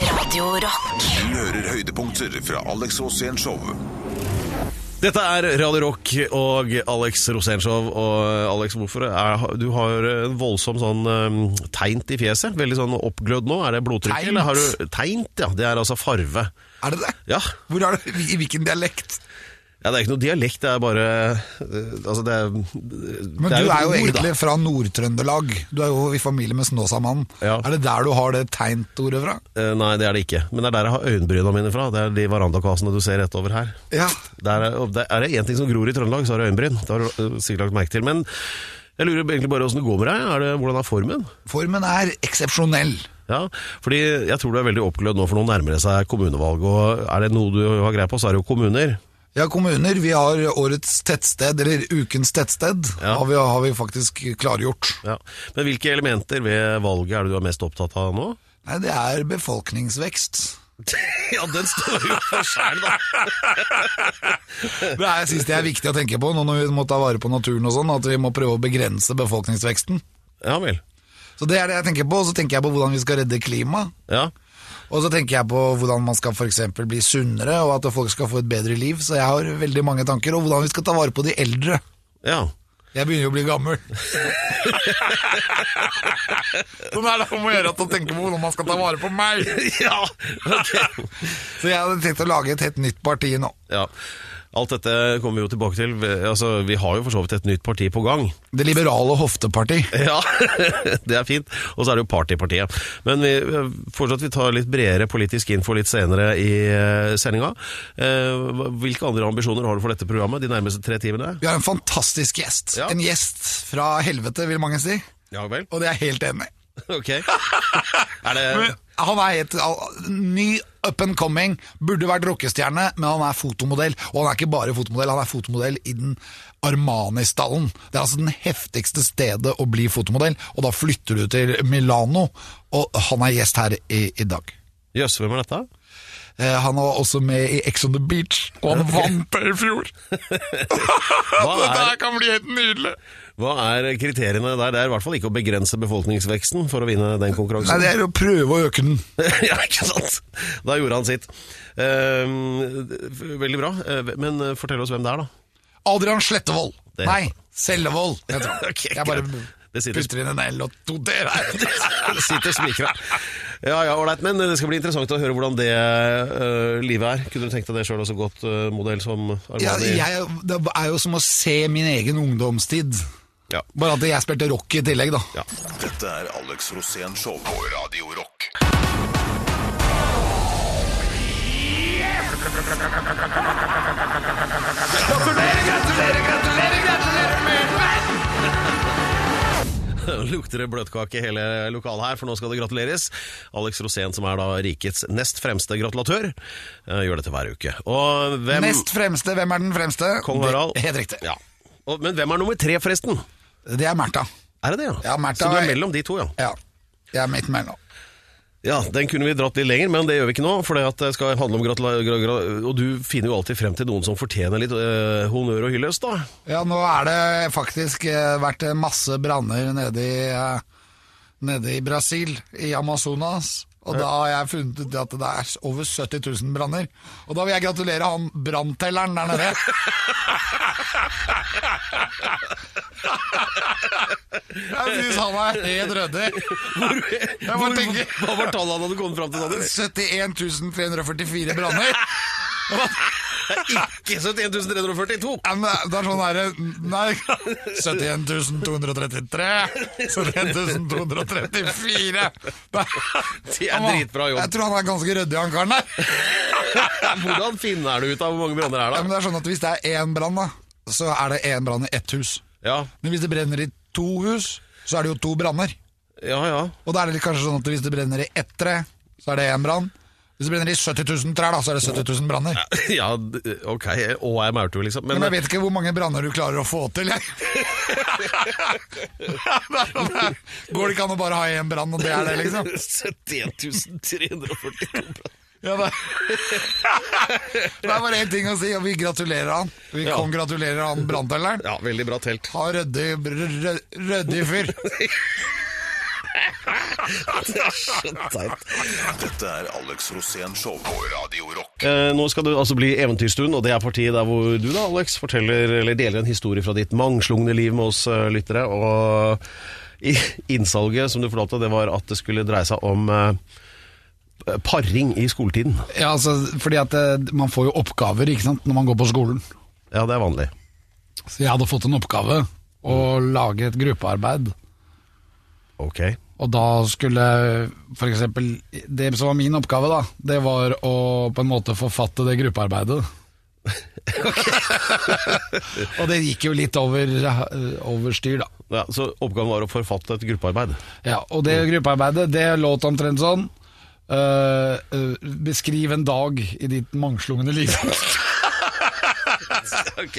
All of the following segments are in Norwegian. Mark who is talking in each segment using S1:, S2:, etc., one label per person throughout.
S1: Radio Rock.
S2: Du hører høydepunkter fra Alex Rosén Show.
S3: Dette er Radio Rock og Alex Rosénshow. Og eh, Alex, hvorfor er, du har en voldsom sånn um, teint i fjeset? Veldig sånn oppglødd nå. Er det blodtrykket?
S4: Teint?
S3: Eller har du teint? Ja, det er altså farve.
S4: Er det det?
S3: Ja.
S4: Hvor er det? I hvilken dialekt?
S3: ja, det er ikke noe dialekt, det er bare øh, Altså, det er Men
S4: Men du er jo egentlig fra Nord-Trøndelag. Du er jo i familie med Snåsamannen.
S3: Ja.
S4: Er det der du har det tegnt-ordet fra?
S3: Eh, Nei, det er det ikke. Men det er der jeg har øyenbryna mine fra. Det er de verandakasene du ser rett over her.
S4: Ja.
S3: Der er, og der er det én ting som gror i Trøndelag, så er det øyenbryn. Det har du øh, sikkert lagt merke til. Men jeg lurer egentlig bare åssen det går med deg. Er det, hvordan er formen?
S4: Formen er eksepsjonell.
S3: Ja, fordi jeg tror du er veldig oppglødd nå, for nå nærmer det seg kommunevalg. Og er det noe du har greie på, så er det jo kommuner.
S4: Ja, kommuner. Vi har årets tettsted, eller ukens tettsted,
S3: Ja.
S4: har, vi, har vi faktisk klargjort.
S3: Ja. Men hvilke elementer ved valget er det du er mest opptatt av nå?
S4: Nei, det er befolkningsvekst.
S3: ja, den står jo for sjæl, da.
S4: Det er, jeg synes det er viktig å tenke på nå når vi må ta vare på naturen og sånn, at vi må prøve å begrense befolkningsveksten.
S3: Ja vel.
S4: Så det er det jeg tenker på, og så tenker jeg på hvordan vi skal redde klimaet.
S3: Ja.
S4: Og så tenker jeg på hvordan man skal for eksempel bli sunnere, og at folk skal få et bedre liv. Så jeg har veldig mange tanker, og hvordan vi skal ta vare på de eldre.
S3: ja.
S4: Jeg begynner jo å bli gammel. Sånn er det om å gjøre at å tenke på hvordan man skal ta vare på meg.
S3: Ja, ok.
S4: Så jeg hadde tenkt å lage et helt nytt parti nå.
S3: Ja. Alt dette kommer vi jo tilbake til. Altså, vi har jo for så vidt et nytt parti på gang.
S4: Det liberale hofteparti.
S3: Ja, det er fint. Og så er det jo partypartiet. Men vi fortsatt vi tar litt bredere politisk info litt senere i eh, sendinga. Eh, hva- Hvilke andre ambisjoner har du for dette programmet de nærmeste tre timene?
S4: Vi har en fantastisk gjest.
S3: Ja.
S4: En gjest fra helvete, vil mange si.
S3: Ja vel.
S4: Og det er jeg helt enig. i.
S3: Ok. Er det
S4: Han er helt al- ny up and coming, burde vært rockestjerne, men han er fotomodell. Og han er ikke bare fotomodell, han er fotomodell i den Armani-stallen. Det er altså den heftigste stedet å bli fotomodell, og da flytter du til Milano. Og han er gjest her i, i dag.
S3: Jøss, hvem er dette?
S4: Eh, han var også med i Ex on the Beach, og han vant det i fjor!
S3: Hva
S4: Det
S3: er,
S4: der kan bli helt nydelig!
S3: hva er kriteriene der? Det er i hvert fall ikke å begrense befolkningsveksten for å vinne den
S4: Nei,
S3: konkurransen.
S4: det er å prøve å øke den.
S3: ja, ikke sant? Da gjorde han sitt. Eh, veldig bra. Eh, Men eh, fortell oss hvem det er, da.
S4: Adrian Slettevold.
S3: Det-
S4: Nei, Sellevold. heter han.
S3: Ok,
S4: jeg bare
S3: greit. Det sitter-
S4: putter inn en L og to D der.
S3: Sitter smikra. Ja, ja, ålreit. Men det skal bli interessant å høre hvordan det øh, livet er. Kunne du tenkt deg det sjøl også, godt øh, modell som Armani?
S4: Ja, jeg, det er jo som å se min egen ungdomstid.
S3: Ja.
S4: Bare at jeg spilte rock i tillegg, da.
S3: Ja.
S2: Dette er Alex Rosén Show på Radio Rock.
S3: Lukter det bløtkake i hele lokalet her, for nå skal det gratuleres. Alex Rosén, som er da rikets nest fremste gratulatør, øh, gjør dette hver uke. Og hvem
S4: Nest fremste, hvem er den fremste?
S3: Kong Harald.
S4: Det- Helt riktig.
S3: Ja. Og, men hvem er nummer tre, forresten?
S4: Det er Märtha.
S3: Er det det,
S4: Ja, Märtha
S3: Så du er
S4: er-
S3: mellom de to, ja.
S4: Ja. Jeg er midt mellom.
S3: Ja, Den kunne vi dratt litt lenger, men det gjør vi ikke nå. For det at det skal handle om gratula... Gra, gra, og du finner jo alltid frem til noen som fortjener litt øh, honnør og hyllest, da.
S4: Ja, nå er det faktisk eh, vært masse branner nede i, eh, nede i Brasil, i Amazonas. Og da har jeg funnet ut at det er over 70 000 branner. Og da vil jeg gratulere han branntelleren der nede. Jeg syns han er helt ryddig.
S3: Hvor,
S4: Jeg bare tenker
S3: hva var tallet han hadde kommet fram til, Anders?
S4: 71 344 branner.
S3: Ikke 71 342!
S4: Ja, men Det er sånn derre Nei, 71 233. 71 234. Det
S3: Det er dritbra jobb.
S4: Jeg tror han er ganske ryddig, han karen der.
S3: Hvordan finner du ut av hvor mange branner
S4: Ja, men
S3: det er, da?
S4: det er sånn at Hvis det er én brann, da, så er det én brann i ett hus.
S3: Ja,
S4: Men hvis det brenner i to hus, så er det jo to branner.
S3: ja. ja.
S4: Og da er det litt kanskje sånn at hvis det brenner i ett tre, så er det én brann. Hvis det brenner i 70 000 trær, da, så er det 70 000 branner.
S3: Ja, d- ok. Og jeg maurtue, liksom. Men,
S4: Men jeg vet ikke hvor mange branner du klarer å få til, jeg. Det er sånn der, Går det ikke an å bare ha én brann,
S3: eh,
S4: og det er det, liksom?
S3: 71 342 branner.
S4: Ja, det, det er bare én ting å si, og vi gratulerer han. Vi
S3: Ja.
S4: kongratulerer han branntelleren.
S3: Ja, veldig bra telt.
S4: Ha ryddig ryddig fyr.
S3: Det er så teit.
S2: Dette er Alex Rosén Show på Radio Rock.
S3: Eh, nå skal det altså bli eventyrstund, og det er partiet der hvor du da, Alex, forteller, eller deler en historie fra ditt mangslungne liv med oss eh, lyttere. Og i innsalget som du fortalte, det var at det skulle dreie seg om eh, paring i skoletiden.
S5: Ja, altså, fordi at eh, man får jo oppgaver ikke sant, når man går på skolen.
S3: Ja, det er vanlig.
S5: Så jeg hadde fått en oppgave å
S4: Mm.
S5: lage et gruppearbeid.
S3: Ok.
S5: Og da skulle for eksempel Det som var min oppgave, da, det var å på en måte forfatte det gruppearbeidet. og det gikk jo litt over, eh, over styr, da.
S3: Ja, så oppgaven var å forfatte et gruppearbeid.
S5: Ja, og det
S3: Mm.
S5: gruppearbeidet, det låt omtrent sånn. eh, eh, beskriv en dag i ditt mangslungne liv.
S3: Ok.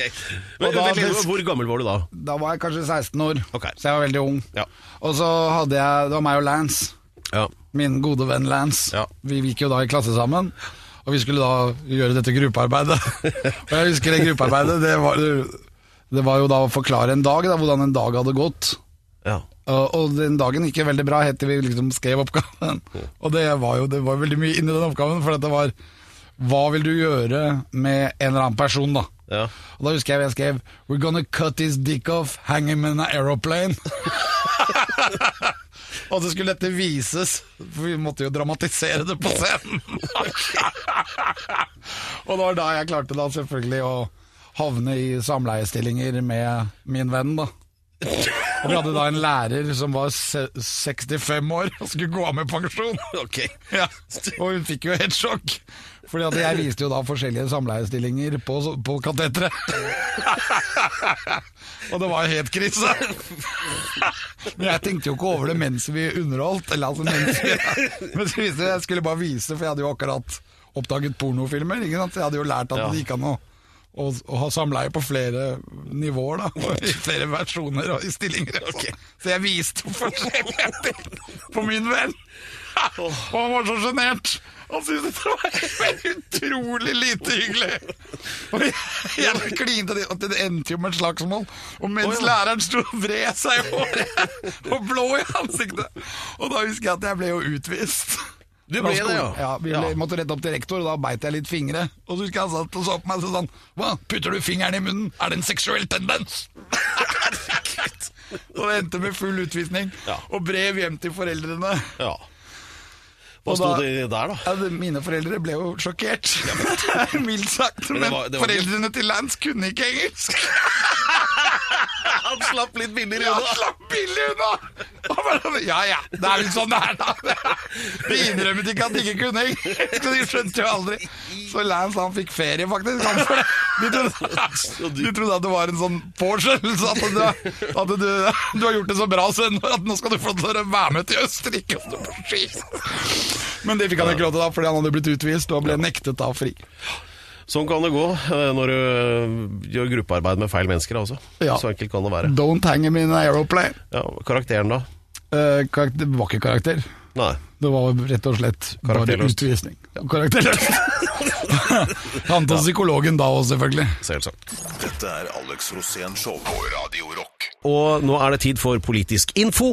S3: Men,
S5: Og da-
S3: vent litt, hvor gammel var du da?
S5: Da var jeg kanskje 16 år,
S3: Ok.
S5: så jeg var veldig ung.
S3: Ja.
S5: Og så hadde jeg Det var meg og Lance.
S3: Ja.
S5: Min gode venn Lance.
S3: Ja.
S5: Vi gikk jo da i klasse sammen. Og vi skulle da gjøre dette gruppearbeidet. og jeg husker det gruppearbeidet. Det var, det var jo da å forklare en dag, da, hvordan en dag hadde gått.
S3: ja.
S5: Og, og den dagen gikk jo veldig bra, helt til vi liksom skrev oppgaven. Og det var jo det var veldig mye inni den oppgaven, for dette var Hva vil du gjøre med en eller annen person, da?
S3: Ja.
S5: Og da husker jeg jeg skrev We're gonna cut his dick off, hang him in an aeroplane. Og så skulle dette vises, for vi måtte jo dramatisere det på scenen. og det var da jeg klarte da selvfølgelig å havne i samleiestillinger med min venn, da. Og vi hadde da en lærer som var se- 65 år og skulle gå av med pensjon.
S3: Ok.
S5: Ja, og hun fikk jo helt sjokk. Fordi at jeg viste jo da forskjellige samleiestillinger på, på kateteret. og det var jo helt krise. Men jeg tenkte jo ikke over det mens vi underholdt. Eller altså mens vi, mens vi viste, jeg skulle bare vise, for jeg hadde jo akkurat oppdaget pornofilmer. Ikke sant? Så Jeg hadde jo lært at
S3: Ja.
S5: det gikk an å, å, å ha samleie på flere nivåer, da. og I flere versjoner og i stillinger. og sånn. Så jeg viste forskjellige ting på min venn. Og han var så sjenert. Han syntes det var utrolig lite hyggelig. Og jeg, jeg klinte det, og det endte jo med et slagsmål. Og mens læreren sto og vred seg i håret og blå i ansiktet. Og da husker jeg at jeg ble jo utvist.
S3: Du
S5: Fra
S3: ble det,
S5: skolen.
S3: ja.
S5: ja vi ble, måtte rette opp til rektor, og da beit jeg litt fingre. Og så husker jeg han satt og så på meg og sa sånn Hva, putter du fingeren i munnen? Er det en seksuell tendens? og det endte med full utvisning.
S3: Ja.
S5: Og brev hjem til foreldrene.
S3: Ja. Hva
S5: Og
S3: sto
S5: da-
S3: det der da?
S5: Ja, det- mine foreldre ble jo sjokkert, mildt sagt. Men,
S3: det var- det var ikke-
S5: foreldrene til Lance kunne ikke engelsk.
S3: Han slapp litt billigere
S5: Ja, han slapp billig unna! Han bare sånn, Ja ja, det er vel sånn det er, da. De innrømmet ikke at de ikke kunne engelsk, så de skjønte jo aldri. Så Lance han fikk ferie, faktisk. Han for det. De, trodde, de trodde at det var en sånn påskjønnelse. At, du, at du, du har gjort det så bra sønner at nå skal du få lov til å være med til Østerrike og stå på ski. Men det fikk han ikke lov til da, fordi han hadde blitt utvist og ble nektet da fri.
S3: Sånn kan det gå eh, når du eh, gjør gruppearbeid med feil mennesker, altså.
S5: Ja.
S3: Så enkelt kan det være.
S5: Don't hang him in an aeroplane.
S3: Ja, karakteren, da?
S5: Eh, karakter, det var ikke karakter.
S3: Nei.
S5: Det var rett og slett bare
S3: Karakterløst.
S5: utvisning. Karakterløst. Han til psykologen da òg, selvfølgelig.
S3: Selvsagt.
S2: Dette er Alex Rosén Show på Radio Rock.
S3: Og nå er det tid for politisk info.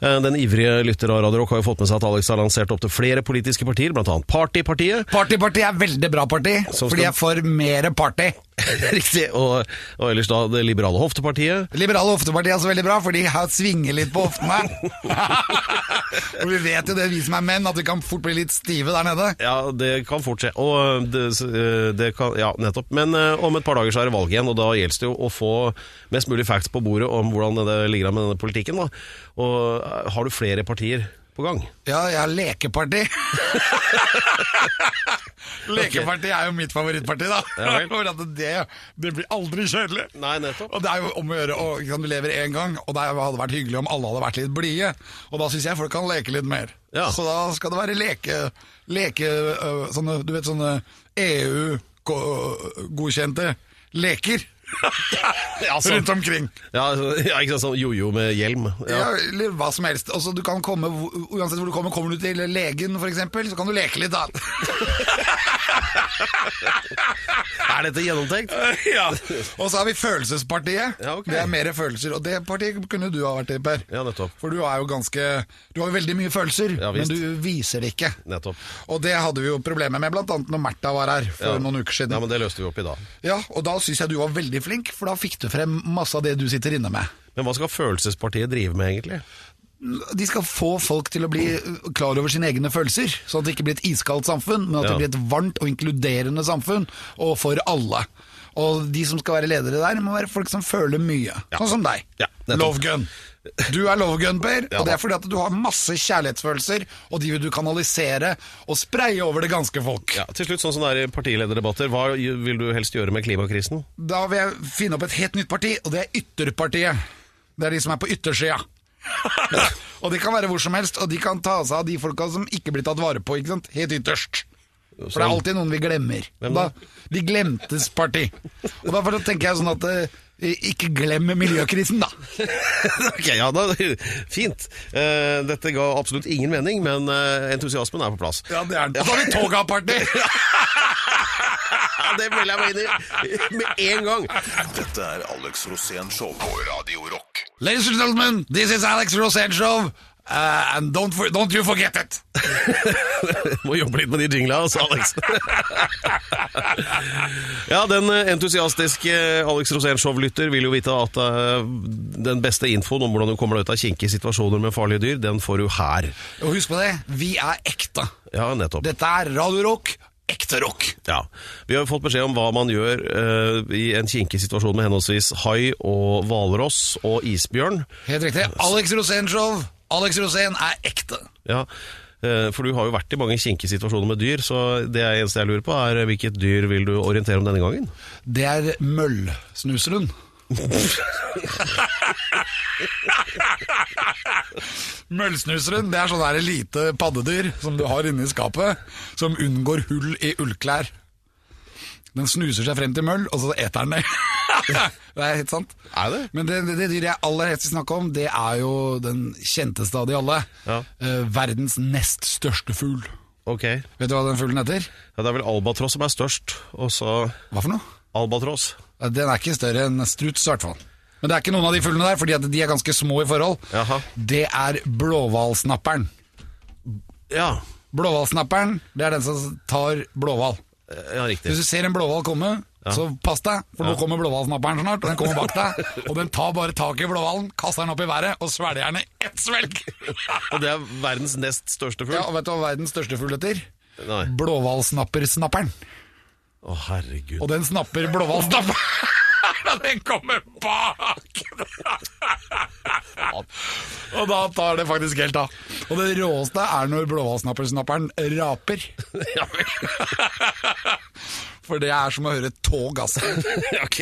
S3: Eh, Den ivrige lytter av Radio Rock har jo fått med seg at Alex har lansert opptil flere politiske partier, bl.a. Partypartiet.
S5: Partyparti er veldig bra parti,
S3: Som
S5: fordi
S3: skal-
S5: jeg får mer party.
S3: Riktig. Og, og ellers da Det liberale hoftepartiet.
S5: Liberale hofteparti er også veldig bra, fordi her svinger litt på hoftene. og vi vet jo det, vi som er menn, at vi kan fort bli litt stive der nede.
S3: Ja, det kan fort skje. Og eh, det, det kan, ja, nettopp. Men eh, om et par dager så er det valg igjen, og da gjelder det jo å få mest mulig facts på bordet om hvordan det ligger an med denne politikken. Da. Og eh, har du flere partier på gang?
S5: Ja, jeg har lekeparti. lekeparti er jo mitt favorittparti, da.
S3: Ja vel.
S5: For at det, det blir aldri kjedelig.
S3: Nei, nettopp.
S5: Og det er jo om å gjøre å, ikke sant, Du lever én gang, og det hadde vært hyggelig om alle hadde vært litt blide. Og da syns jeg folk kan leke litt mer.
S3: Ja.
S5: Så da skal det være leke... leke øh, sånne, du vet sånne E EU-godkjente leker
S3: sånn.
S5: rundt omkring.
S3: Ja, altså, ja ikke sant, sånn jojo med hjelm.
S5: Ja.
S3: Ja.
S5: eller hva som helst. Altså, du kan komme, hvor- uansett hvor du kommer, kommer du til legen for eksempel, så kan du leke litt da.
S3: Er dette gjennomtenkt?
S2: ja.
S4: Og så har vi Følelsespartiet.
S3: Ja, ok.
S4: Det er mer følelser. Og det partiet kunne du ha vært i, Per.
S3: Ja, nettopp.
S4: For du er jo ganske Du har jo veldig mye følelser,
S3: Ja,
S4: men
S3: visst.
S4: du viser det ikke.
S3: Nettopp.
S4: Og det hadde vi jo problemer med, blant annet når Märtha var her for
S3: Ja.
S4: noen uker
S3: Ja,
S4: siden. Ja,
S3: men det løste vi opp i dag.
S4: Og da syns jeg du var veldig flink, for da fikk du frem masse av det du sitter inne med.
S3: Men hva skal følelsespartiet drive med, egentlig?
S4: De skal få folk til å bli øh, klar over sine egne følelser, sånn at det ikke blir et iskaldt samfunn, men at
S3: Ja.
S4: det blir et varmt og inkluderende samfunn, og for alle. Og de som skal være ledere der, må være folk som føler mye. Sånn som deg.
S3: Ja, nettopp.
S4: Lovegun. Du er lovegun, Per,
S3: Ja,
S4: og det
S3: da.
S4: er fordi at du har masse kjærlighetsfølelser, og de vil du kanalisere og spreie over det ganske folk.
S3: Ja, til slutt, sånn som det er i partilederdebatter, hva vil du helst gjøre med klimakrisen?
S4: Da vil jeg finne opp et helt nytt parti, og det er ytterpartiet. Det er de som er på yttersida. og de kan være hvor som helst, og de kan ta seg av de folka som ikke blir tatt vare på, ikke sant? Helt ytterst. For det er alltid noen vi glemmer.
S3: sånn. Hvem
S4: Da,
S3: da?
S4: de glemtes parti. Og derfor tenker jeg sånn at eh, ikke glem miljøkrisen, da.
S3: Ok, ja, da, Fint. Eh, dette ga absolutt ingen mening, men eh, entusiasmen er på plass.
S4: Ja, det er den. Da har vi toga-parti!
S3: Ja, det melder jeg meg inn i med en gang.
S2: Dette er Alex Rosén Show på Radio Rock.
S4: Ladies and gentlemen, this is Alex Rosenshov, uh, and don't, for, don't you forget it!
S3: Må jobbe litt med de jingla, altså, Alex. ja, den eh, entusiastiske Alex Rosén Show-lytter vil jo vite at eh, den beste infoen om hvordan du kommer deg ut av kinkige situasjoner med farlige dyr, den får du her.
S4: Og husk på det, vi er ekte.
S3: Ja, nettopp.
S4: Dette er Radio Rock, ekte rock.
S3: Ja. Vi har jo fått beskjed om hva man gjør eh, i en kinkig situasjon med henholdsvis hai og hvalross og isbjørn.
S4: Helt riktig. Alex Rosén-show. Alex Rosén er ekte.
S3: Ja, eh, for du har jo vært i mange kinkige situasjoner med dyr, så det eneste jeg lurer på er eh, hvilket dyr vil du orientere om denne gangen?
S4: Det er møllsnuseren. Møllsnuseren det er sånn der lite paddedyr som du har inne i skapet, som unngår hull i ullklær. Den snuser seg frem til møll, og så eter den det. det er helt sant.
S3: Er det?
S4: Men det, det, det dyret jeg aller helst vil snakke om, det er jo den kjenteste av de alle.
S3: Ja.
S4: Eh, verdens nest største fugl.
S3: Ok, ja,
S4: Vet du hva den fuglen heter?
S3: det er vel albatross som er størst, og så
S4: Hva for noe?
S3: albatross.
S4: Ja, Den er ikke større enn struts, i hvert fall. Men det er ikke noen av de fuglene der, fordi at de er ganske små i forhold.
S3: Jaha.
S4: Det er blåhvalsnapperen.
S3: Ja,
S4: Blåhvalsnapperen det er den som tar blåhval.
S3: eh, ja riktig.
S4: Hvis du ser en blåhval komme, så pass deg, for nå kommer blåhvalsnapperen snart. Og den kommer bak deg, og den tar bare tak i blåhvalen, kaster den opp i været og svelger den i ett svelg.
S3: Og det er verdens nest største fugl?
S4: Ja, og vet du hva verdens største fugl heter?
S3: Nei.
S4: Blåhvalsnappersnapperen.
S3: Å, herregud.
S4: Og den snapper blåhvalsnapperen. Den kommer bak! Og da tar det faktisk helt av. Og det råeste er når blåhvalsnappersnapperen raper.
S3: Ja, vel.
S4: For det er som å høre tog, altså. Er
S3: ok.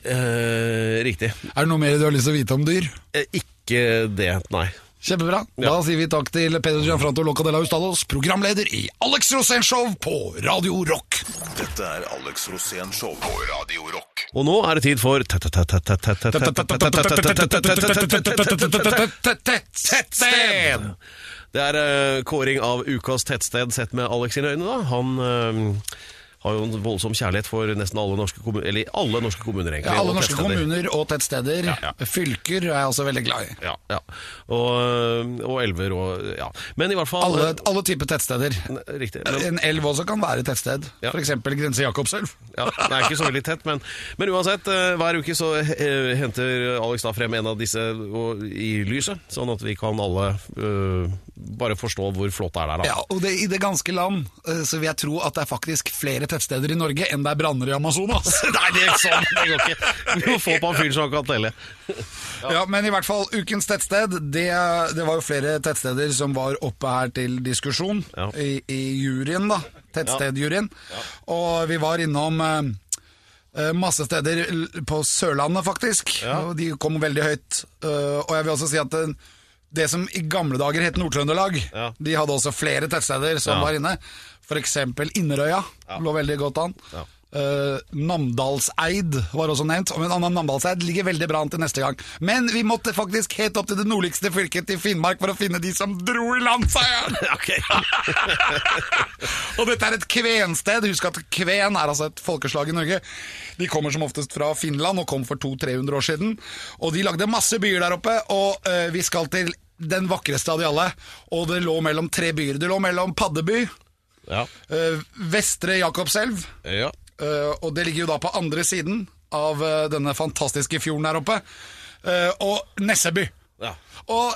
S3: Eh, riktig.
S4: det noe mer du har lyst til å vite om dyr?
S3: Eh, ikke det, nei.
S4: Kjempebra. Da sier vi takk til Peder Gianfranto Locadella Ustalos, programleder i Alex Rosén Show på Radio Rock.
S2: Dette er Alex Rosén Show på Radio Rock.
S3: Og nå er det tid for
S4: Tettsted!
S3: Det er eh, kåring av ukas tettsted sett med Alex sine øyne. da Han eh, har jo en voldsom kjærlighet for nesten alle norske kommuner. Eller alle norske kommuner, egentlig.
S4: Ja, alle
S3: og
S4: norske
S3: tettsteder.
S4: kommuner og tettsteder.
S3: Ja, ja.
S4: Fylker er jeg også veldig glad i.
S3: Ja, ja. Og, eh, og elver og Ja. Men i hvert fall
S4: Alle, alle typer tettsteder.
S3: N- Riktig. Men,
S4: En elv også kan være tettsted.
S3: Ja.
S4: For eksempel Grense Jakobselv.
S3: ja, det er ikke så veldig tett, men, men uansett. eh, Hver uke så eh, henter Alex da frem en av disse og, i lyset, sånn at vi kan alle eh, bare forstå hvor flott det er der. da
S4: Ja, og det, i det ganske land eh, så vil jeg tro at det er faktisk flere tettsteder i Norge enn det er branner i Amazonas.
S3: Nei, det, er sånn, det går ikke. Vi må få på en fyr som kan telle.
S4: Ja, men i hvert fall ukens tettsted. Det, det var jo flere tettsteder som var oppe her til diskusjon
S3: Ja.
S4: i, i juryen, da. Tettstedjuryen. Og vi var innom eh, eh, masse steder l- på Sørlandet, faktisk. Og de kom veldig høyt. Eh, og jeg vil også si at eh, det som i gamle dager het Nord-Trøndelag,
S3: Ja.
S4: de hadde også flere tettsteder som
S3: Ja.
S4: var inne. For eksempel Inderøya lå veldig godt an.
S3: Ja.
S4: Eh, Namdalseid var også nevnt, men Anna Namdalseid ligger veldig bra an til neste gang. Men vi måtte faktisk helt opp til det nordligste fylket til Finnmark for å finne de som dro i land seieren! Og dette er et kvensted. Husk at kven er altså et folkeslag i Norge. De kommer som oftest fra Finland og kom for 200-300 år siden. Og de lagde masse byer der oppe, og eh, vi skal til den vakreste av de alle. Og det lå mellom tre byer. Det lå mellom Paddeby,
S3: Ja.
S4: eh, Vestre Jakobselv,
S3: ja.
S4: eh, og det ligger jo da på andre siden av eh, denne fantastiske fjorden der oppe, eh, og Nesseby.
S3: ja.
S4: Og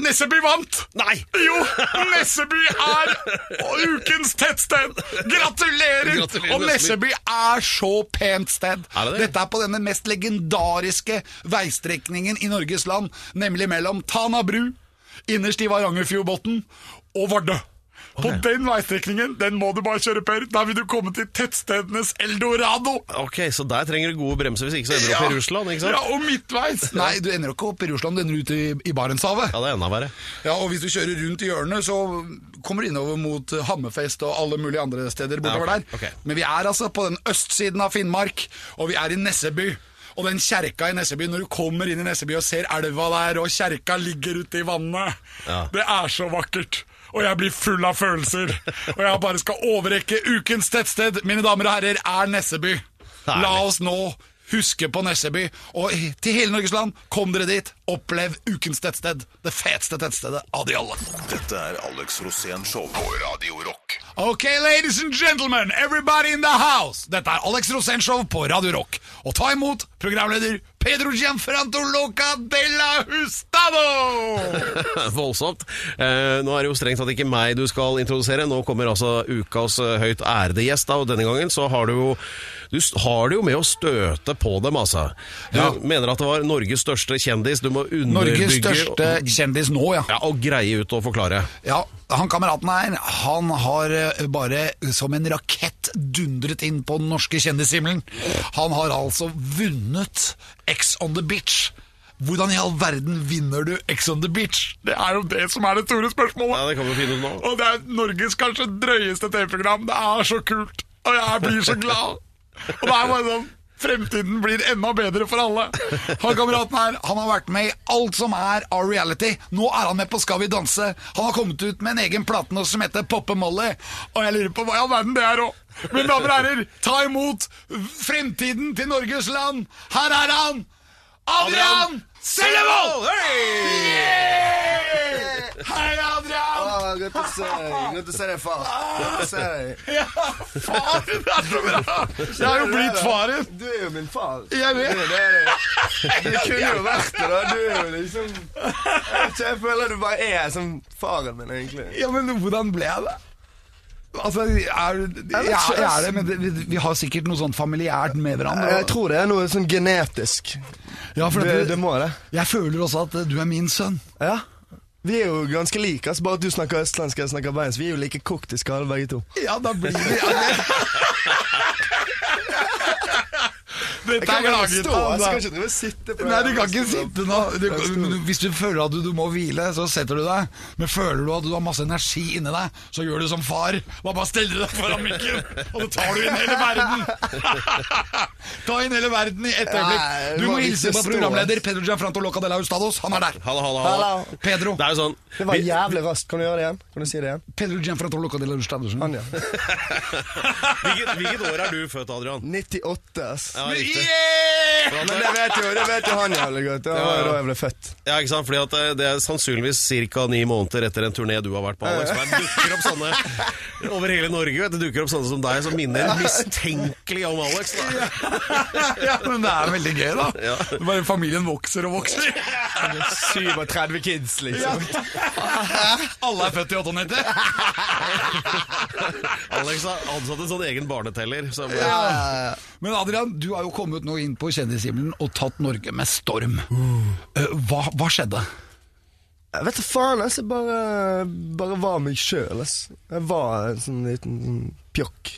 S4: Nesseby vant!
S3: Nei!
S4: Jo, Nesseby er ukens tettsted! Gratulerer!
S3: Gratulerer,
S4: og Nesseby er så pent sted.
S3: Er det det?
S4: Dette er på denne mest legendariske veistrekningen i Norges land, nemlig mellom Tana bru, innerst i Varangerfjordbotn, og Vardø. På den veistrekningen den må du bare kjøre, Per. Da vil du komme til tettstedenes eldorado!
S3: Ok, så der trenger du gode bremser, hvis ikke så ender du opp i Russland, ikke sant?
S4: Ja, og midtveis! Nei, du ender jo ikke opp i Russland, du ender ute i, i Barentshavet.
S3: Ja, det er enda verre.
S4: Ja, og hvis du kjører rundt i hjørnet, så kommer du innover mot eh, Hammerfest og alle mulige andre steder bortover
S3: Ja, ok,
S4: der.
S3: ok.
S4: Men vi er altså på den østsiden av Finnmark, og vi er i Nesseby. Og den kjerka i Nesseby, når du kommer inn i Nesseby og ser elva der, og kjerka ligger ute i vannet,
S3: Ja.
S4: det er så vakkert. Og jeg blir full av følelser. Og jeg bare skal overrekke ukens tettsted, mine damer og herrer, er Nesseby. La
S3: Herlig.
S4: oss nå huske på Nesseby. Og til hele Norges land, kom dere dit. Opplev ukens tettsted. Det feteste tettstedet av de alle.
S2: Dette er Alex Rosén Show på Radio Rock.
S4: Ok, ladies and gentlemen, everybody in the house. Dette er Alex Rosenshov på Radio Rock. Og ta imot programleder Pedro Gianfranto Loca de la Hustado!
S3: Voldsomt. Eh, nå er det jo strengt tatt ikke meg du skal introdusere. Nå kommer altså ukas eh, høyt ærede gjest, da, og denne gangen så har du jo Du s- har det jo med å støte på dem, altså. Du
S4: Ja.
S3: mener at det var Norges største kjendis. Du må underbygge
S4: Norges største
S3: og,
S4: kjendis nå, ja.
S3: ja, og greie ut og forklare.
S4: Ja, han kameraten her, han har eh, bare som en rakett dundret inn på den norske kjendishimmelen. Han har altså vunnet X on the Beach. Hvordan i all verden vinner du X on the Beach? Det er jo det som er det store
S3: Ja,
S4: spørsmålet.
S3: det kan vi finne ut nå.
S4: Og det er Norges kanskje drøyeste TV-program. Det er så kult, og jeg blir så glad. Og det er bare sånn Fremtiden blir enda bedre for alle. Han kameraten her han har vært med i alt som er av reality. Nå er han med på Skal vi danse. Han har kommet ut med en egen plate nå som heter Poppe Molly. Og jeg lurer på hva i all verden det er òg. Mine damer og herrer, ta imot fremtiden til Norges land. Her er han! Adrian Sellevold! Hei, Adrian!
S1: Ah, Godt å se deg. Godt å se deg, far. Godt å se deg.
S4: Ja, far, det er så bra! Jeg er jo blitt faren.
S1: Du er jo min far.
S4: Jeg vet.
S1: Du, det er det. du kunne jo vært det, da. Du er jo liksom Jeg, vet ikke, jeg føler du bare er som faren min, egentlig.
S4: Ja, men hvordan ble jeg det? Altså, jeg er, jeg, jeg er det, men det, vi, vi har sikkert noe sånn familiært med hverandre.
S1: Jeg tror det er noe sånn genetisk.
S4: Ja, for
S1: Det,
S4: at
S1: det
S4: du,
S1: må det.
S4: jeg føler også at du er min sønn.
S1: Ja. Vi er jo ganske like, altså bare at du snakker østlandsk og jeg snakker bergensk. Vi er jo like kokt i skallen begge to.
S4: Ja, da blir vi Dette
S1: Jeg kan ikke stå, jeg skal ikke drive og sitte på
S4: Nei, du kan ikke sitte nå. Du, men du- hvis du føler at du, du må hvile, så setter du deg. Men føler du at du har masse energi inni deg, så gjør du som far. Da bare steller du deg foran mikken, og så tar du inn hele verden. Ta inn hele verden i ett
S1: Nei,
S4: øyeblikk.
S1: det
S4: Du
S1: var
S4: må
S1: ikke
S4: hilse på
S1: stå.
S4: programleder Pedro Gianfranto Loca de la Hustados. Han er der.
S3: Halla, halla, halla.
S1: Hallo.
S4: Pedro.
S3: Det er jo sånn
S1: Det var
S3: vi-
S1: jævlig raskt. Kan du gjøre det igjen? Kan du si det igjen?
S4: Pedro Gianfranto Loca de la Hustados.
S1: Han, ja.
S3: hvilket, hvilket år er du født, Adrian?
S1: 98, ass.
S3: Ja, riktig.
S4: Yeah!
S1: Men det vet jo, det vet jo han jævlig godt. Det
S3: Ja,
S1: var
S3: ja.
S1: jo da jeg ble født.
S3: Ja, ikke sant? Fordi at eh, Det er sannsynligvis ca. ni måneder etter en turné du har vært på. Alex. Der dukker opp sånne over hele Norge. Vet du, Det dukker opp sånne som deg som minner mistenkelig om Alex. Da.
S4: Ja, men det er veldig gøy, da. Bare familien vokser og vokser.
S1: 37 kids, liksom.
S4: Alle er født i 98.
S3: Alex har ansatt en sånn egen barneteller. Som,
S4: Men Adrian, du har jo kommet nå inn på kjendishimmelen og tatt Norge med storm.
S1: Uh.
S4: Eh, Hva, hva skjedde?
S1: Jeg vet du faen, ass. Jeg bare, bare var meg sjøl, ass. Jeg var en sånn liten sånn pjokk.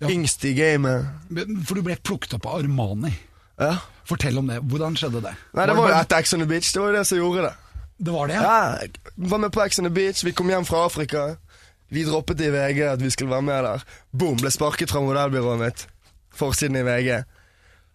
S4: Ja.
S1: Yngst i gamet.
S4: Men- For du ble plukket opp av Armani.
S1: Ja.
S4: Fortell om det. Hvordan skjedde det?
S1: Nei, det var jo
S4: bare-
S1: etter Ex on the Beach. Det var jo det som gjorde det.
S4: det var det, ja.
S1: Ja, jeg var med på Ex on the Beach. Vi kom hjem fra Afrika. Vi droppet i VG at vi skulle være med der. Boom, ble sparket fra modellbyrået mitt. forsiden i VG.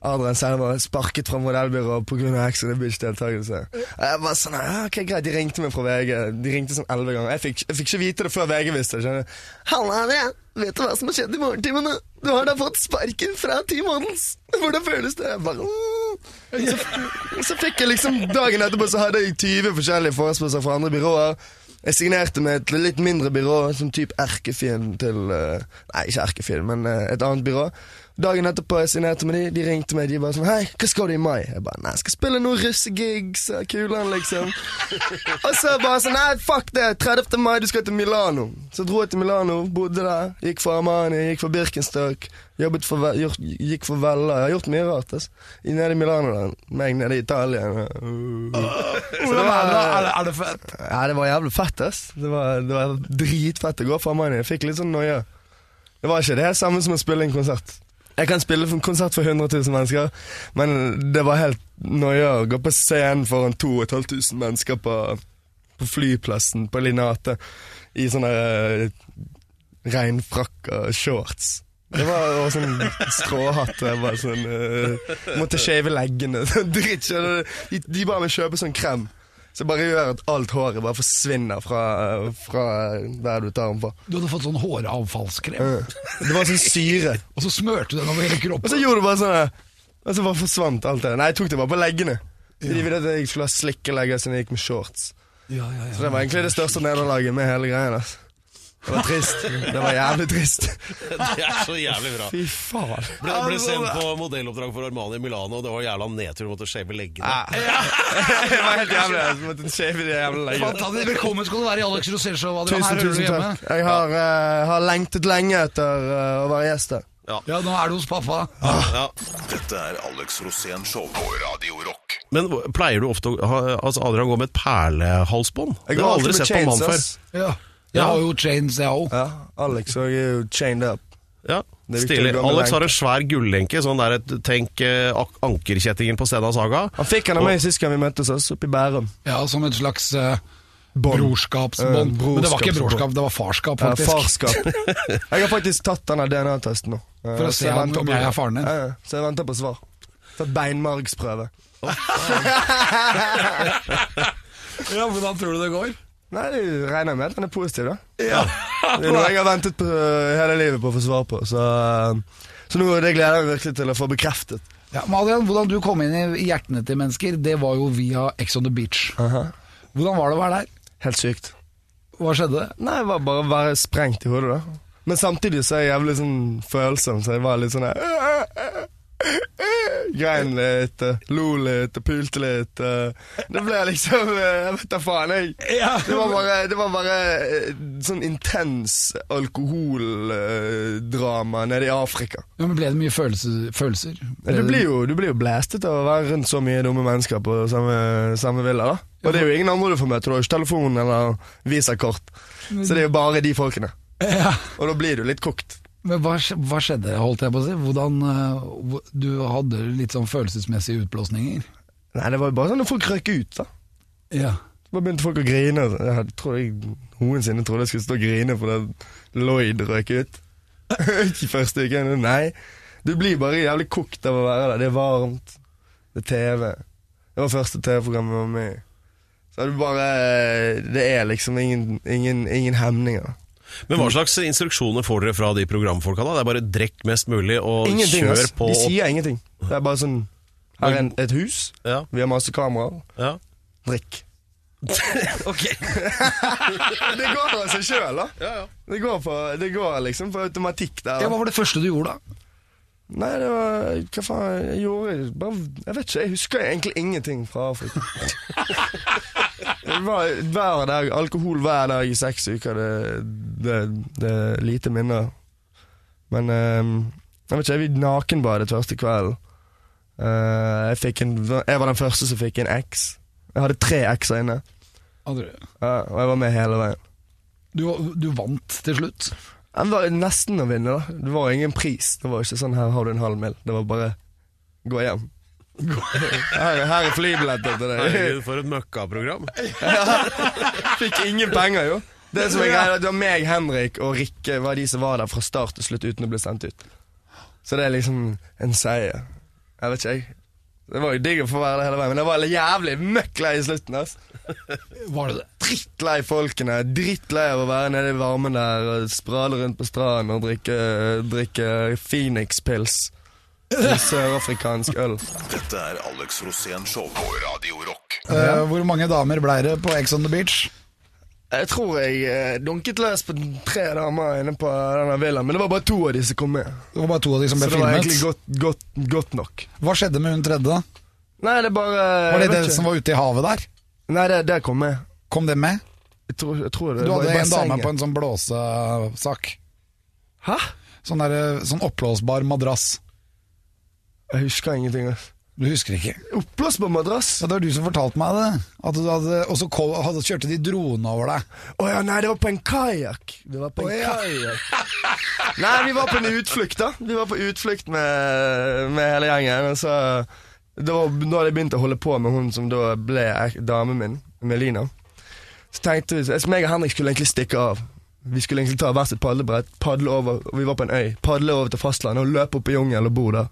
S1: Adrian Selmer sparket fra modellbyrået pga. Ex on the Beach-deltakelse. Og Jeg bare sånn, «Ah, ok greit, De ringte meg fra VG De ringte sånn elleve ganger. Jeg fikk, jeg fikk ikke vite det før VG visste det. skjønner du. Halla, Adrian. Vet du hva som har skjedd i morgentimene? Du har da fått sparken fra Team Models. Hvordan føles det? Jeg bare, «Åh». så, så fikk jeg liksom Dagen etterpå så hadde jeg 20 forskjellige forespørsler fra andre byråer. Jeg signerte med et litt mindre byrå, som typ erkefienden til eh, Nei, ikke erkefienden, men eh, et annet byrå. Dagen etterpå jeg signerte med de, de ringte meg. De bare sånn 'Hei, hva skal du i mai?' Jeg bare 'Nei, jeg skal spille noen russegigs', og kulen, liksom. og så bare sånn 'Nei, fuck det, 30. mai, du skal til Milano'. Så dro jeg til Milano, bodde der. Gikk for Armani, gikk for Birkenstock. Jobbet for, Ve- gjort, gikk for Vella. Jeg har gjort mye rart, altså. Nede i Milano, da. Meg nede i Italia.
S4: Hvordan er
S1: Eh.
S4: det? Er det, er det fett?
S1: Ja, det var jævlig fett, ass. Det var, det var dritfett å gå for Armani. Jeg fikk litt sånn noia. Det var ikke det samme som å spille en konsert. Jeg kan spille en konsert for 100 000 mennesker, men det var helt noia å gå på scenen foran 2500 mennesker på, på flyplassen på Linate i sånne eh, regnfrakk og shorts. Det var og sånn stråhatt. og Jeg bare sånn eh, Måtte shave leggene. Dritt. skjønner du? De, de ba meg kjøpe sånn krem. Så bare gjør at alt håret bare forsvinner fra, fra der du tar den fra.
S4: Du hadde fått sånn håravfallskrem,
S1: Eh, Det var sånn syre.
S4: og så smørte du den over hele
S1: Og så
S4: kroppen.
S1: gjorde du bare sånn her, Og så bare forsvant alt det der. Nei, jeg tok det bare på leggene. De ville at jeg skulle ha slikkelegger siden jeg gikk med shorts.
S4: Ja, ja, ja.
S1: Så det var egentlig det største nederlaget med hele greien. Altså. Det var trist. Det var jævlig trist.
S3: Det er så jævlig bra.
S1: Fy faen.
S3: Ble, ble sendt på modelloppdrag for Armani i Milano, og det var jævla nedtur. Måtte shave leggene.
S1: Det var helt jævlig. Jeg måtte shave de jævla leggene.
S4: Fantastisk. Velkommen skal du være i Alex Rosell-show. Adrian. Her
S1: Tusen,
S4: hører du
S1: tusen
S4: hjemme.
S1: takk. Jeg har, eh, har lengtet lenge etter eh, å være gjest her.
S4: Ja, nå er du hos pappa.
S3: Ja.
S2: Dette er Alex Rosén Show på Radio Rock.
S3: Men pleier du ofte å ha Altså, Adrian går med et perlehalsbånd. Det har
S1: Jeg går
S3: jeg aldri
S1: alltid med
S3: sett på en
S1: chains,
S3: mann før.
S1: ass.
S4: Ja. Jeg har jo chains, jeg òg.
S1: Ja, Alex og jeg er jo chained up.
S3: Ja,
S1: Det er viktig
S3: stilig.
S1: å gå med
S3: Alex
S1: lenke.
S3: har en svær gullenke, sånn der et- tenk eh, ak- ankerkjettingen på Stena Saga.
S1: Han fikk han av meg sist gang vi møttes oss oppe i Bærum.
S4: Ja, som et slags eh,
S1: Bånd. Eh,
S4: brorskapsbånd. Men det var ikke
S1: brorskapsbånd.
S4: brorskap, det var farskap,
S1: Ja,
S4: faktisk.
S1: farskap. Jeg har faktisk tatt den der DNA-testen nå. Eh,
S4: For å
S1: så
S4: se
S1: jeg
S4: om
S1: venter på-
S4: jeg er faren din.
S1: Ja, ja. Så jeg venter på svar. Tatt beinmargsprøve.
S4: Ja, Hvordan tror du det går?
S1: Nei, du regner med at den er positiv, da. Det er noe jeg har ventet på eh, hele livet på å få svar på, så, eh, så nå det gleder jeg meg virkelig til å få bekreftet.
S4: Ja, men Adrian, hvordan du kom inn i hjertene til mennesker, det var jo via Ex on the Beach. Hvordan var det å være der?
S1: Helt sykt.
S4: Hva skjedde?
S1: Nei, det var bare å være sprengt i hodet, da. Men samtidig så er jeg jævlig sånn følsom, så jeg var litt sånn der Grein litt, eh, lo litt, pulte litt. eh. Det ble liksom eh, Jeg vet da faen, jeg. Det var bare, det var bare eh, sånn intens alkoholdrama nede i Afrika.
S4: Ja, men Ble det mye følelse, følelser?
S1: Du blir, jo, du blir jo blæstet av å være rundt så mye dumme mennesker på samme, samme villa. da Og det er jo ingen andre du får møte. Du har jo ikke telefon eller visakort. Så det er jo bare de folkene.
S4: Ja.
S1: Og da blir du litt kokt.
S4: Men hva, skj- hva skjedde, holdt jeg på å si? Hvordan, eh, hvor- du hadde litt sånn følelsesmessige utblåsninger.
S1: Nei, det var jo bare sånn at folk røk ut. da
S4: Ja.
S1: Så bare begynte folk å grine. Jeg tror jeg noensinne trodde jeg skulle stå og grine fordi Lloyd røk ut. Ikke første uken. Nei. Du blir bare jævlig kokt av å være der. Det er varmt. Det er TV. Det var første TV-programmet jeg var med i. Så er du bare Det er liksom ingen, ingen, ingen hemninger.
S3: Men hva slags instruksjoner får dere fra de programfolka da? Det er bare drikk mest mulig og
S1: Ingenting,
S3: kjør
S1: ass.
S3: på.
S1: De sier ingenting. Det er bare sånn Her er en, et hus.
S3: Ja,
S1: Vi har masse kameraer.
S3: ja.
S1: Drikk.
S3: Ok.
S1: Det går av seg sjøl, da.
S3: Ja, ja.
S1: Det går, på, det går liksom på automatikk der.
S4: ja. Hva var det første du gjorde, da?
S1: Nei, det var Hva faen? Jeg gjorde bare, Jeg vet ikke. Jeg husker egentlig ingenting fra Afrika. det var hver dag, Alkohol hver dag i seks uker. Det, det, det er lite minner. Men ehm, jeg vet ikke. Jeg nakenbadet første kvelden. Eh, jeg, fikk en, jeg var den første som fikk en X. Jeg hadde tre X-er inne,
S4: Adrian?
S1: Ja, og jeg var med hele veien.
S4: Du, du vant til slutt.
S1: Jeg var nesten å vinne, da. Det var ingen pris. Det var ikke sånn 'her har du en halv mil'. Det var bare 'gå hjem'. Her, her er flybilletter til deg.
S3: Herregud, for et møkkaprogram.
S1: Fikk ingen penger, jo. Det som er greia, er at det var meg, Henrik og Rikke var de som var der fra start til slutt uten å bli sendt ut. Så det er liksom en seier. Jeg vet ikke, jeg. Det var jo digg å få være der hele veien, men det var jævlig møkk lei i slutten. ass
S4: Var det det?
S1: Drittlei folkene. Drittlei av å være nede i varmen der og sprale rundt på stranden og drikke, drikke Phoenix-pils. Sørafrikansk øl.
S2: Dette er Alex Rosén Show på Radio Rock.
S4: Eh, hvor mange damer ble det på Ex on the Beach?
S1: Jeg tror jeg eh, dunket løs på tre damer inne på denne villaen, men det var bare to av de som kom med.
S4: Det var bare to av de som
S1: Så
S4: ble
S1: det var
S4: filmet.
S1: egentlig godt, godt, godt nok.
S4: Hva skjedde med hun tredje? da?
S1: Nei, det er bare
S4: Var det
S1: jeg vet
S4: det
S1: ikke.
S4: som var ute i havet der?
S1: Nei, det, det kom med.
S4: Kom det med?
S1: Jeg tror, jeg tror det
S4: Du
S1: var i
S4: hadde en dame
S1: bassenget.
S4: på en sånn blåsesak.
S1: Hæ?
S4: Sånn, der, sånn oppblåsbar madrass.
S1: Jeg husker ingenting. ass.
S4: Du husker ikke?
S1: Oppblåsbar madrass?
S4: Ja, det var du som fortalte meg det. eh. At du hadde, og så ko- hadde, kjørte de drone over deg.
S1: Å ja, nei, det var på en kajakk. Det var på en
S4: Å ja.
S1: kajakk. Nei, vi var på en utflukt, da. Vi var på utflukt med, med hele gjengen. Og så det var, Nå hadde jeg begynt å holde på med hun som da ble ek- damen min, Melina. Så tenkte vi så meg og Henrik skulle egentlig stikke av. Vi skulle egentlig ta hvert sitt padlebrett, padle over, og vi var på en øy. Padle over til fastlandet og løpe opp i jungelen og bo der.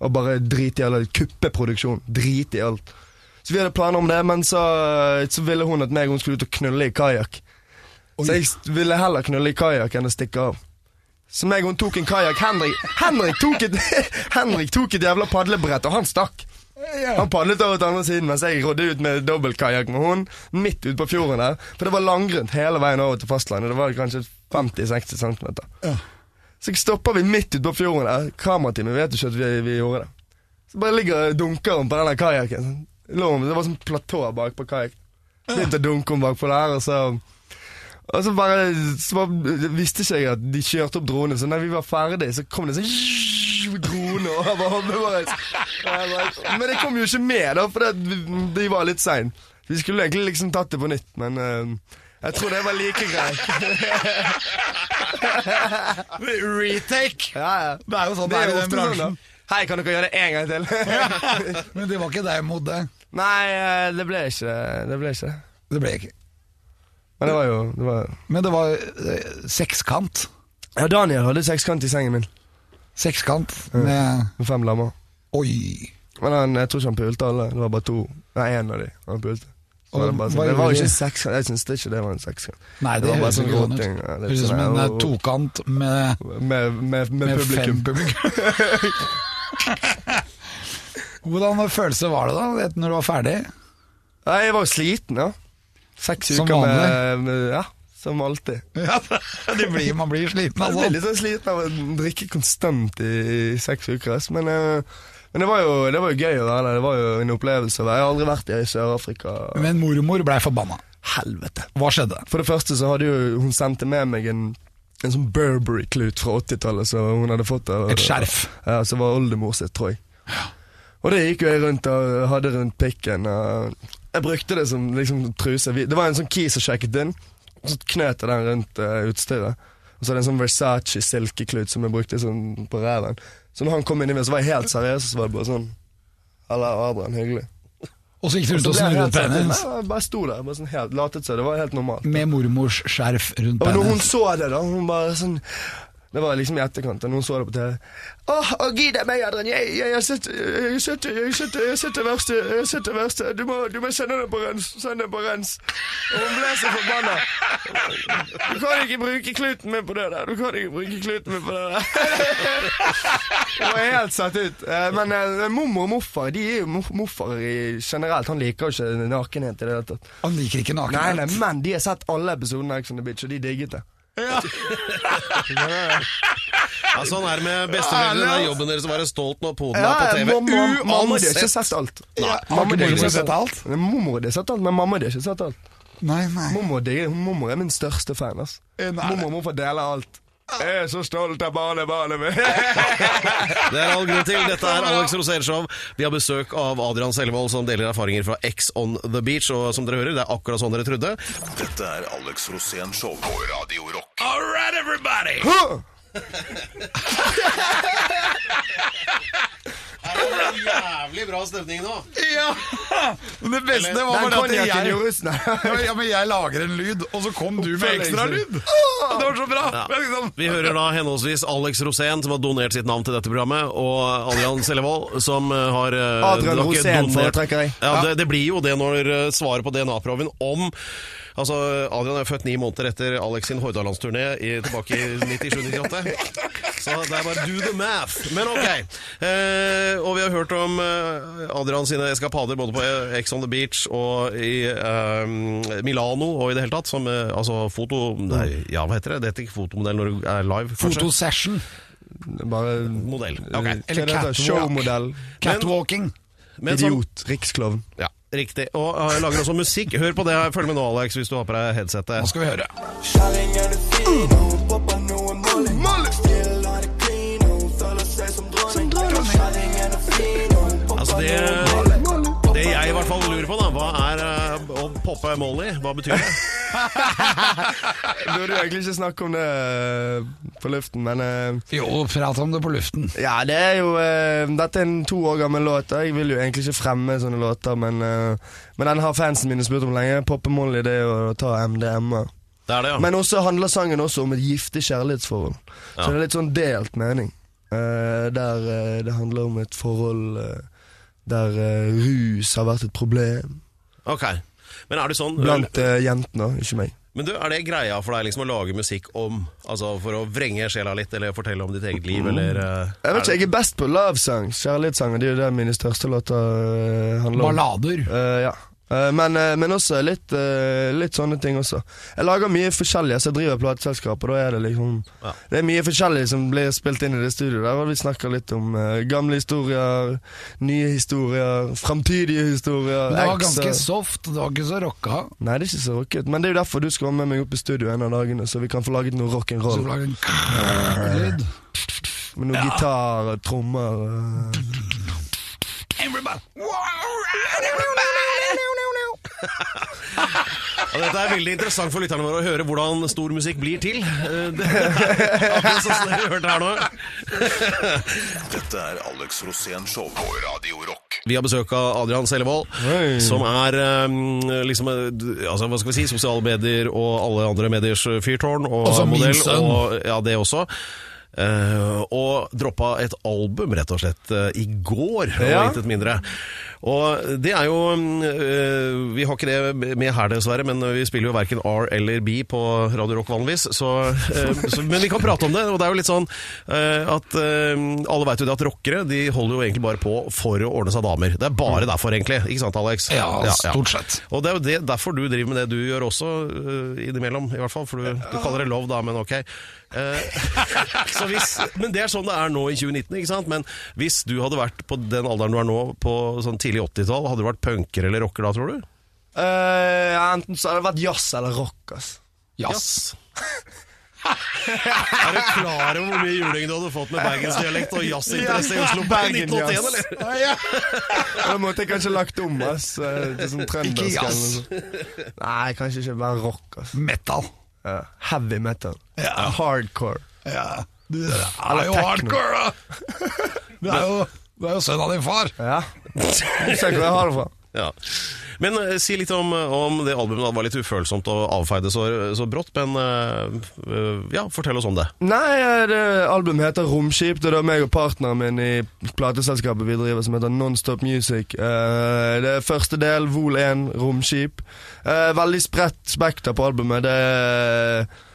S1: Og bare drite i alle Kuppe produksjonen. Drite i alt. Så vi hadde planer om det, men så, så ville hun at meg og hun skulle ut og knulle i kajakk. Så jeg s- ville heller knulle i kajakk enn å stikke av. Så meg og hun tok en kajakk. Henrik, Henrik, tok et- Henrik tok et jævla padlebrett, og han stakk. Han padlet over til andre siden mens jeg rodde ut med dobbeltkajakk med hun midt ute på fjorden der. For det var langgrunt hele veien over til fastlandet. Det var kanskje 50-60 cm.
S4: Ja.
S1: Så stopper vi midt ute på fjorden der. Kamerateamet vet jo ikke at vi, vi gjorde det. Så bare ligger og dunker hun på den der kajakken. sånn. Lå hun- Det var sånn platå bak på kajakken. Begynte å dunke hun bakpå der, og så og så bare, så bare visste ikke jeg at de kjørte opp dronen, så når vi var ferdig, så kom det sånn drone over hodet vårt. Og jeg bare- Men det kom jo ikke med, da, for det, de var litt sein. Vi skulle egentlig liksom tatt det på nytt, men eh, jeg tror det var like greit.
S4: Retake!
S1: Ja, ja.
S4: Det er jo sånn det er i den
S1: ofte
S4: bransjen.
S1: da. Hei, kan dere gjøre det en gang til?
S4: Men det var ikke deg mot det.
S1: Nei, eh, det ble ikke det. det. ble ikke det.
S4: Det ble ikke.
S1: Men det var jo det var...
S4: Men det var eh, sekskant.
S1: Ja, Daniel hadde sekskant i sengen min
S4: Sekskant
S1: Mm.
S4: med
S1: med fem lammer.
S4: Oi.
S1: Men han, jeg tror ikke han pulte alle. Det var bare to. Nei, én av de han pulte. Så
S4: Og
S1: var det,
S4: hva
S1: bare sånn, det var
S4: gjorde
S1: jo ikke
S4: de?
S1: sekskant. Jeg syns ikke det var en sekskant.
S4: Nei,
S1: Det
S4: det,
S1: var bare
S4: høres
S1: sånn
S4: ikke sånn ut.
S1: roting, ja, litt
S4: Høres ut som
S1: sånn,
S4: en
S1: ja,
S4: eh,
S1: og-
S4: tokant med,
S1: Med, med, med,
S4: med fem
S1: publikum.
S4: publikum. Hvordan følelse var det da, vet du, når du var ferdig?
S1: Nei, jeg var jo sliten, ja. Seks
S4: Som
S1: uker
S4: vanlig.
S1: med, med Ja, som alltid.
S4: det blir, man blir sliten,
S1: Jeg ble
S4: altså.
S1: litt sånn sliten av å drikke konstant i, i seks uker, ass. Men, eh, men det, var jo, det var jo gøy å være der. Det var jo en opplevelse. å være- Jeg har aldri vært i Sør-Afrika.
S4: Men mormor blei forbanna.
S1: Helvete.
S4: Hva skjedde?
S1: For det første så hadde jo hun sendte med meg en, en sånn Burberry-klut fra 80-tallet som hun hadde fått av
S4: Et skjerf.
S1: Ja, som var oldemor sitt, tror jeg. Og det gikk jo jeg rundt og hadde rundt pikken. Og jeg brukte det som liksom, truse. Vi- Det var en sånn key som sjekket inn, og så knøt jeg den rundt eh, utstyret. Og så hadde jeg en sånn Versace silkeklut som jeg brukte sånn på ræven. Så når han kom inn i meg, så var jeg helt seriøs, og så var det bare sånn Halla, Adrian, hyggelig.
S4: Og så gikk du rundt og
S1: ble jeg
S4: snurret
S1: helt satt ut.
S4: pennen
S1: Nei, Jeg bare sto der, bare sånn helt, latet seg. Det var helt normalt.
S4: med mormors skjerf rundt
S1: Og når hun
S4: pennen.
S1: så det, da Hun bare sånn Det var liksom i etterkant, og når hun så det på TV. Åh, oh, gi deg meg, Adrian. Jeg, jeg, jeg, sitter, jeg, sitter, jeg, sitter, jeg sitter verste. Jeg sitter verste. Du må, du må sende det på rens. Send det på rens. Og hun ble så forbanna. Du kan ikke bruke kluten min på det der. Du kan ikke bruke kluten min på det der. Jeg var helt satt ut. Eh, Men eh, mormor og morfar De er jo mor- morfar i- generelt. Han liker jo ikke nakenhet i det hele tatt.
S4: Han liker ikke
S1: Nei, nei,
S4: nakenhet.
S1: men de har sett alle episodene av Ex on the Beach, og de digget det.
S3: Ja, sånn er det med besteforeldre. Det er jobben deres å være stolt når poden er på
S1: Ja,
S3: TV.
S1: mamma- Mamma de har ikke
S3: Uansett!
S1: sett alt.
S4: Ja, har
S1: Mamma
S4: ikke
S1: de
S4: mormor
S1: ikke
S4: sett alt?
S1: Nei, Mormor de har sett alt, men mamma de har ikke sett alt.
S4: Nei, nei.
S1: Mormor digger det. Mormor er min største fan. ass.
S4: Eh, Nei.
S1: Mormor og morfar deler alt. Jeg er så stolt av barnebarnet mitt.
S3: Det er all grunn til. Dette er Alex Rosénshow. Vi har besøk av Adrian Selvold, som deler erfaringer fra X on the beach. Og som dere hører, det er akkurat sånn dere trodde.
S2: Dette er Alex Rosén Show på Radio Rock.
S3: All right, everybody!
S1: Huh!
S3: Jævlig bra stemning nå.
S4: Ja! Men det beste var
S1: Den
S4: bare at
S1: konjakken
S4: jeg
S1: gjorde Nei.
S4: ja, men- ja, men jeg lager en lyd, og så kom du med ekstra lyd! Og Det var så bra!
S3: Ja.
S4: Jeg liksom-
S3: Vi hører da henholdsvis Alex Rosén, som har donert sitt navn til dette programmet, og Adrian Sellevold, som eh, har eh,
S1: Adrian
S3: dere
S1: Rosén
S3: donert-
S1: foretrekker jeg.
S3: Ja, det, det blir jo det når eh, svaret på DNA-proven om Altså, Adrian er født ni måneder etter Alex sin Hordalandsturné i- tilbake i 97-98. Så det er bare do the math. Men ok. Eh, og vi har hørt om eh, Adrian sine eskapader både på Ex on the Beach og i eh, Milano og i det hele tatt. Som eh, altså foto... Nei, ja, hva heter det? Det heter ikke fotomodell når du er live. kanskje?
S4: Fotosession.
S1: Bare
S3: Modell.
S1: Hva
S3: Ok.
S1: er det det heter?
S4: catwalk.
S1: Showmodell. sånn-
S4: Catwalking.
S3: Men som-
S1: Idiot. Riksklovn.
S3: Ja, riktig. Og eh, lager også musikk. Hør på det. Følg med nå, Alex, hvis du har på deg
S4: Nå
S3: headsetet.
S4: skal vi høre.
S6: Kjerring er det fin, hun poppa noe molly. Still er det clean, hun føler seg som dronning. Kjerring er det fin, hun
S3: Altså,
S6: poppa
S3: det,
S6: noe molly.
S3: det jeg i hvert fall lurer på, da, hva er eh, å poppe Molly? Hva betyr det?
S1: Burde jo egentlig ikke snakke om det eh, på luften, men eh,
S4: Jo, prat om det på luften.
S1: Ja, det er jo eh, Dette er en to år gammel låt. og Jeg vil jo egentlig ikke fremme sånne låter, men, eh, men den har fansen mine spurt om lenge. Poppe Molly, det er jo å ta MDMA.
S3: Det er det, ja.
S1: Men også handler sangen også om et giftig kjærlighetsforhold. Så
S3: Ja.
S1: det er litt sånn delt mening. Eh, der eh, det handler om et forhold eh, der eh, rus har vært et problem.
S3: Ok. Men er det sånn
S1: Blant eh, jentene, ikke meg.
S3: Men du, er det greia for deg liksom å lage musikk om? Altså for å vrenge sjela litt, eller fortelle om ditt eget liv, eller eh,
S1: Mm. Jeg
S3: er
S1: vet ikke, jeg er best på love-sang. Kjærlighetssanger. Det er jo det mine største låter eh, handler om.
S4: Ballader.
S1: Eh, ja. Eh, men, eh, men også litt, eh, litt sånne ting også. Jeg lager mye forskjellig. Så jeg driver plateselskap, og da er det liksom
S3: Ja.
S1: Det er mye forskjellig som blir spilt inn i det studioet. Der og vi snakker litt om eh, gamle historier, nye historier, framtidige historier.
S4: Men det var
S1: ex-
S4: ganske soft, det var ikke så rocka.
S1: Nei, det er ikke så rocket. Men det er jo derfor du skal være med meg opp i studio en av dagene, så vi kan få laget noe
S4: Så
S1: rock'n'roll.
S4: det var en krrrr-lyd.
S1: Med noe gitar og trommer. eh. og-
S4: Everybody. Everybody.
S3: Ja, dette er veldig interessant for lytterne våre å høre hvordan stor musikk blir til. Eh, det- Akkurat sånn som dere hørte her nå.
S2: Dette er Alex Rosén Show på Radio Rock.
S3: Vi har besøk av Adrian Sellevold,
S1: Hei.
S3: som er eh, liksom, eh, d- altså, hva skal vi si, sosiale medier og alle andre mediers eh, fyrtårn. Og
S4: Også min
S3: modell,
S4: sønn.
S3: Og, ja, det også. Eh, og droppa et album, rett og slett, eh, i går, og
S1: Ja.
S3: intet mindre. Og det er jo mm, eh, Vi har ikke det med her, dessverre, men vi spiller jo verken R eller B på Radio Rock vanligvis. Så, eh, så, men vi kan prate om det. Og det er jo litt sånn eh, at eh, alle veit jo det at rockere de holder jo egentlig bare på for å ordne seg damer. Det er bare derfor, egentlig. Ikke sant, Alex?
S4: Mm. Ja, stort sett.
S3: Og det er jo det, derfor du driver med det du gjør også, eh, innimellom i hvert fall. For du, du kaller det love, da, men ok. Eh, så hvis, men det er sånn det er nå i 2019, ikke sant? Men hvis du hadde vært på den alderen du er nå, på sånn tidlig 80-tall, hadde du vært punker eller rocker da, tror du?
S1: Eh, enten så hadde det vært jazz eller rock, ass.
S4: Jazz.
S3: er du klar over hvor mye juling du hadde fått med bergensdialekt og jazzinteresse i Oslo på
S1: Bergen
S3: 1981,
S1: jazz.
S3: eller?
S1: Da måtte jeg kanskje lagt om, ass. eh, Til sånn trøndersk.
S4: Ikke jazz.
S1: eller noe sånt. Nei, kanskje ikke bare rock, ass.
S4: Metal.
S1: Ja. Heavy metal.
S4: Ja.
S1: Hardcore.
S4: Ja. Det er
S1: Eller
S4: jo
S1: techno.
S4: hardcore, da! Du er jo, du er jo sønn av din far.
S1: Ja. Jeg ser ikke hvor jeg har det fra.
S3: Ja. Men eh, si litt om, om det albumet. da. Det var litt ufølsomt å avfeie det så, så brått, men eh, eh, ja, fortell oss om det.
S1: Nei, eh, det albumet heter Romskip. Det er da meg og partneren min i plateselskapet vi driver, som heter Nonstop Music. Eh, det er første del, Vol 1, Romskip. Eh, veldig spredt spekter på albumet. Det er eh,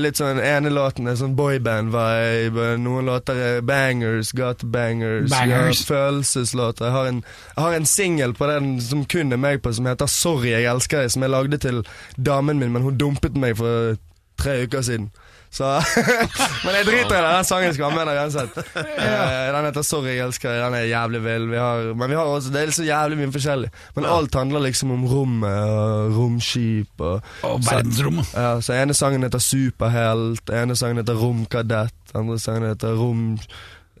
S1: litt sånn ene låten er sånn boyband-vibe. Noen låter er bangers, gatebangers.
S4: Bangers.
S1: Ja, følelseslåter. Jeg har en, jeg har en singel på den som kun er meg på, som heter 'Sorry, jeg elsker deg', som jeg lagde til damen min, men hun dumpet meg for tre uker siden. Så Men jeg driter i det. Den sangen skal anvende uansett. Eh, Den heter 'Sorry, jeg elsker deg'. Den er jævlig vill. Vi har, men vi har også, det er så jævlig mye forskjellig. Men alt handler liksom om rommet og romskip og
S4: Og
S1: så-
S4: verdensrommet.
S1: ja, så ene sangen heter Superhelt, ene sangen heter Romkadett, andre sangen heter Rom...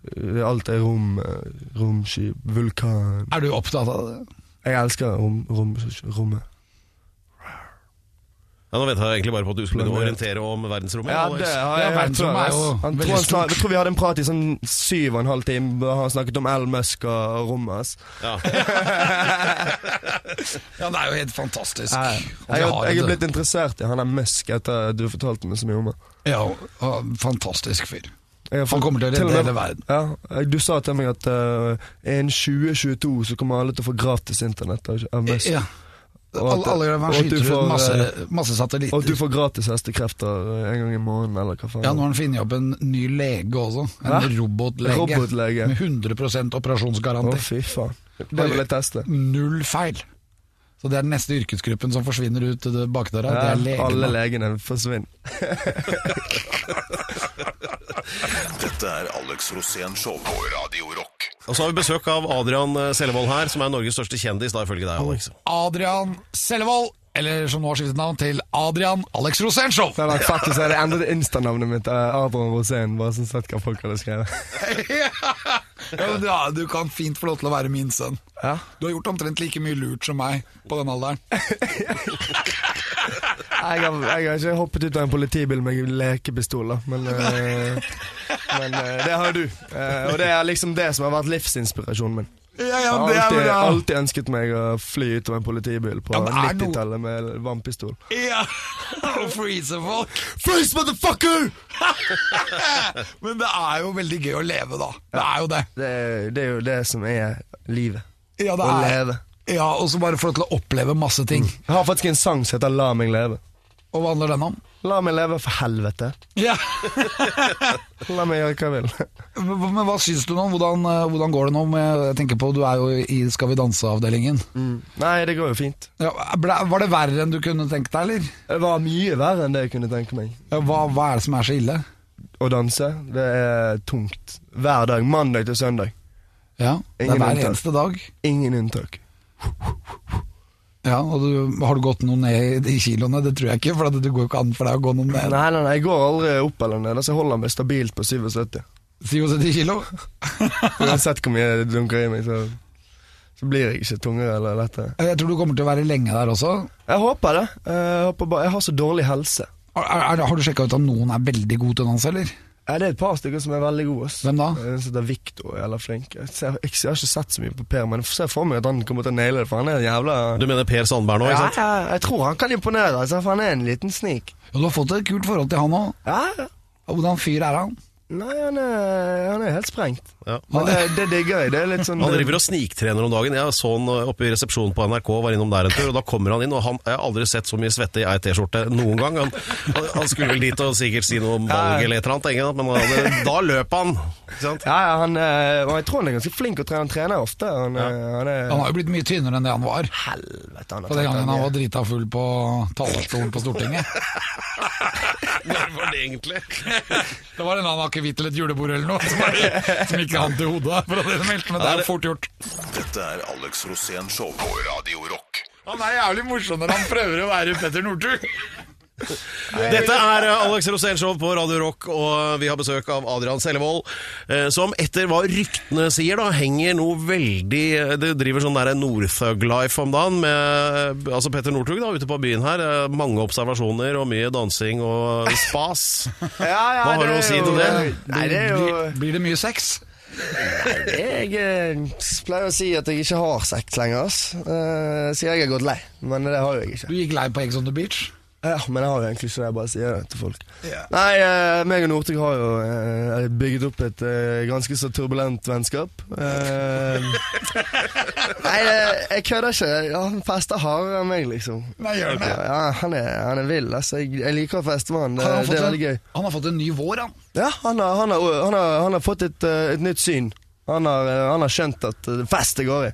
S1: Alt er rom, eh, romskip, vulkan
S4: Er du opptatt av det?
S1: Jeg elsker rom, rom, rommet.
S3: Ja, nå venta jeg egentlig bare på at du skulle begynne å orientere om verdensrommet.
S1: Ja, det
S3: Alex.
S1: har jeg
S4: Ja,
S1: hørt før.
S4: verdensrommet er jo
S1: ass. Han
S4: veldig
S1: tror han
S4: stort.
S1: snak- Jeg tror vi hadde en prat i sånn syv og en halv time, da han snakket om Elon Musk og og rommet. ass.
S4: Ja, det er jo helt fantastisk.
S1: Jeg,
S4: Og de
S1: jeg,
S4: har
S1: jeg
S4: jo
S1: er
S4: det.
S1: blitt interessert i han der Musk etter du fortalte meg så mye om han.
S4: Ja, og fantastisk fyr.
S1: Jeg har
S4: Han
S1: fått-
S4: kommer til å
S1: til og
S4: redde
S1: med-
S4: hele verden.
S1: Ja, du sa til meg at eh, innen 2022 så kommer alle til å få gratis internett av av Musk.
S4: Ja.
S1: Og at-
S4: Alle, alle
S1: og
S4: han
S1: at du
S4: skyter
S1: får,
S4: ut masse,
S1: eh,
S4: masse satellitter.
S1: Og at du får gratis hestekrefter eh, en gang i måneden, eller hva faen.
S4: Ja, nå har han funnet opp en ny lege også. En
S1: Hæ?
S4: robotlege.
S1: Robotlege.
S4: Med 100
S1: Å,
S4: operasjonsgaranti.
S1: fy faen. Det vil jeg teste.
S4: Null feil. Så det er den neste yrkesgruppen som forsvinner ut til det bakdøra. det
S1: Ja,
S4: er legene.
S1: alle legene forsvinner.
S2: Dette er Alex Rosén Show på Radio Rock.
S3: Og så har vi besøk av Adrian eh, Sellevold her, som er Norges største kjendis, da ifølge deg, Alex.
S4: Adrian Sellevold, eller som nå har skiftet navn til Adrian Alex Rosenshov.
S1: Det var faktisk jeg hadde endret instanavnet mitt, eh, Abraham Rosén, bare sånn sett hva folk hadde skrevet.
S4: ja, men du, du kan fint få lov til å være min sønn.
S1: Ja.
S4: Du har gjort omtrent like mye lurt som meg på den alderen.
S1: Jeg har, jeg har ikke hoppet ut av en politibil med lekepistol, da, men, eh, men eh, det har du. Eh, og det er liksom det som har vært livsinspirasjonen min.
S4: Ja,
S1: Jeg
S4: ja,
S1: har
S4: det er
S1: alltid,
S4: bra.
S1: alltid ønsket meg å fly ut av en politibil på
S4: Ja, men er det noe-
S1: 90-tallet med vannpistol.
S4: Ja, og freeze folk.
S1: Freeze, motherfucker!
S4: Men det er jo veldig gøy å leve, da. Det er jo det.
S1: Det, er- det er jo det som er livet.
S4: Ja, det
S1: Å
S4: er.
S1: leve. Mm.
S4: Ja, og så bare få lov til å oppleve masse ting.
S1: Jeg har faktisk en sang som heter La meg leve.
S4: Og hva handler den om?
S1: La meg leve, for helvete.
S4: Ja.
S1: La meg gjøre hva jeg vil.
S4: Men, men hva syns du nå? Hvordan, eh, hvordan går det nå? Med, jeg tenker på, Du er jo i Skal vi danse-avdelingen.
S1: Nei, det går jo fint.
S4: Ja, ble- var det verre enn du kunne tenkt deg, eller?
S1: Det var mye verre enn det jeg kunne tenke meg.
S4: Ja, hva, hva er det som er så ille?
S1: Å danse, det er tungt. Hver dag. Mandag til søndag.
S4: Ja, Det
S1: Ingen
S4: er hver
S1: unntak.
S4: eneste dag.
S1: Ingen unntak.
S4: Ja, og du, Har du gått noe ned i- i kiloene? Det tror jeg ikke, for at det går jo ikke an for deg å gå noe ned.
S1: Nei, nei, nei, jeg går aldri opp eller ned. Altså, jeg holder meg stabilt på 77.
S4: 77 kilo?
S1: Uansett hvor mye jeg dunker i meg, så, så blir jeg ikke tungere eller lettere.
S4: Jeg tror du kommer til å være lenge der også.
S1: Jeg håper det. Jeg, håper bare, jeg har så dårlig helse.
S4: Er, er, har du sjekka ut om noen er veldig god til å danse, eller?
S1: Ja, det er et par stykker som er veldig gode. ass. Eh,
S4: Hvem da?
S1: En som heter Victor, er jævla flink. Jeg, ser, jeg, jeg har ikke sett så mye på Per, men jeg ser for meg at han kommer til å naile det, for han er en jævla
S3: Du mener Per Sandberg nå,
S1: ja,
S3: ikke sant?
S1: ja, jeg tror han kan imponere, altså, for han er en liten snik.
S4: Ja, du har fått et kult forhold til han òg.
S1: Ja, ja.
S4: Hvordan fyr er han?
S1: Nei, han er, han er helt sprengt.
S3: Ja.
S1: Men det, det digger jeg. Det er litt sånn
S3: Han driver og sniktrener om dagen. Jeg så han eh, oppe i resepsjonen på NRK, var innom der en tur, og da kommer han inn, og han, jeg har aldri sett så mye svette i ei T-skjorte noen gang. Han, han- han skulle vel dit og sikkert si noe om valg eller et eller annet, tenker jeg, men han hadde, da løp han. Ikke sant?
S1: Ja, ja, han, er- og jeg tror han er ganske flink å trene. Han trener ofte. Han, er- han er
S4: Han har jo blitt mye tynnere enn det han var.
S1: Helvete, han har
S4: På den
S1: trent
S4: gangen han
S1: mye.
S4: var drita full på talerstolen på Stortinget.
S3: Når var det egentlig?
S4: Det var en annen akevitt til et julebord eller noe som, bare, som ikke han til hodet. For å si det mildt, men det er fort gjort.
S2: Dette er Alex Rosén Show på Radio Rock.
S4: Han er jævlig morsom når han prøver å være Petter Northug.
S3: Dette er eh, Alex Rosén Show på Radio Rock, og vi har besøk av Adrian Sellevold, eh, som etter hva ryktene sier, da henger noe veldig eh, Det driver sånn der Northug-life om dagen med eh, altså Petter Northug da, ute på byen her. eh, Mange observasjoner og mye dansing og spas.
S1: ja, ja,
S3: Hva har
S1: det
S3: du å
S1: er
S3: si
S1: jo- eh,
S3: til det?
S1: Nei, det er jo
S4: Blir, blir det mye sex?
S1: Jeg eh, pleier å si at jeg ikke har sex lenger, ass. Eh, Så jeg har gått lei. Men det har jo jeg ikke.
S4: Du gikk lei på Eggs on the Beach.
S1: Ja, Men jeg har jo egentlig ikke det. Jeg bare sier det til folk. Nei, eh, meg og Northug har jo eh, bygget opp et eh, ganske så turbulent vennskap. Eh, Nei, eh, jeg kødder ikke. Ja, Han fester hardere enn meg, liksom.
S4: Nei, gjør han det?
S1: Ja, han er, han er vill. Altså. Jeg, jeg liker å feste med han. Det,
S4: Han har,
S1: det
S4: fått
S1: er veldig
S4: en,
S1: gøy.
S4: han har fått en ny vår, han.
S1: Ja, han har, han har, han har, han har fått et, eh, et nytt syn. Han har, eh, han har skjønt at eh, fest det går i.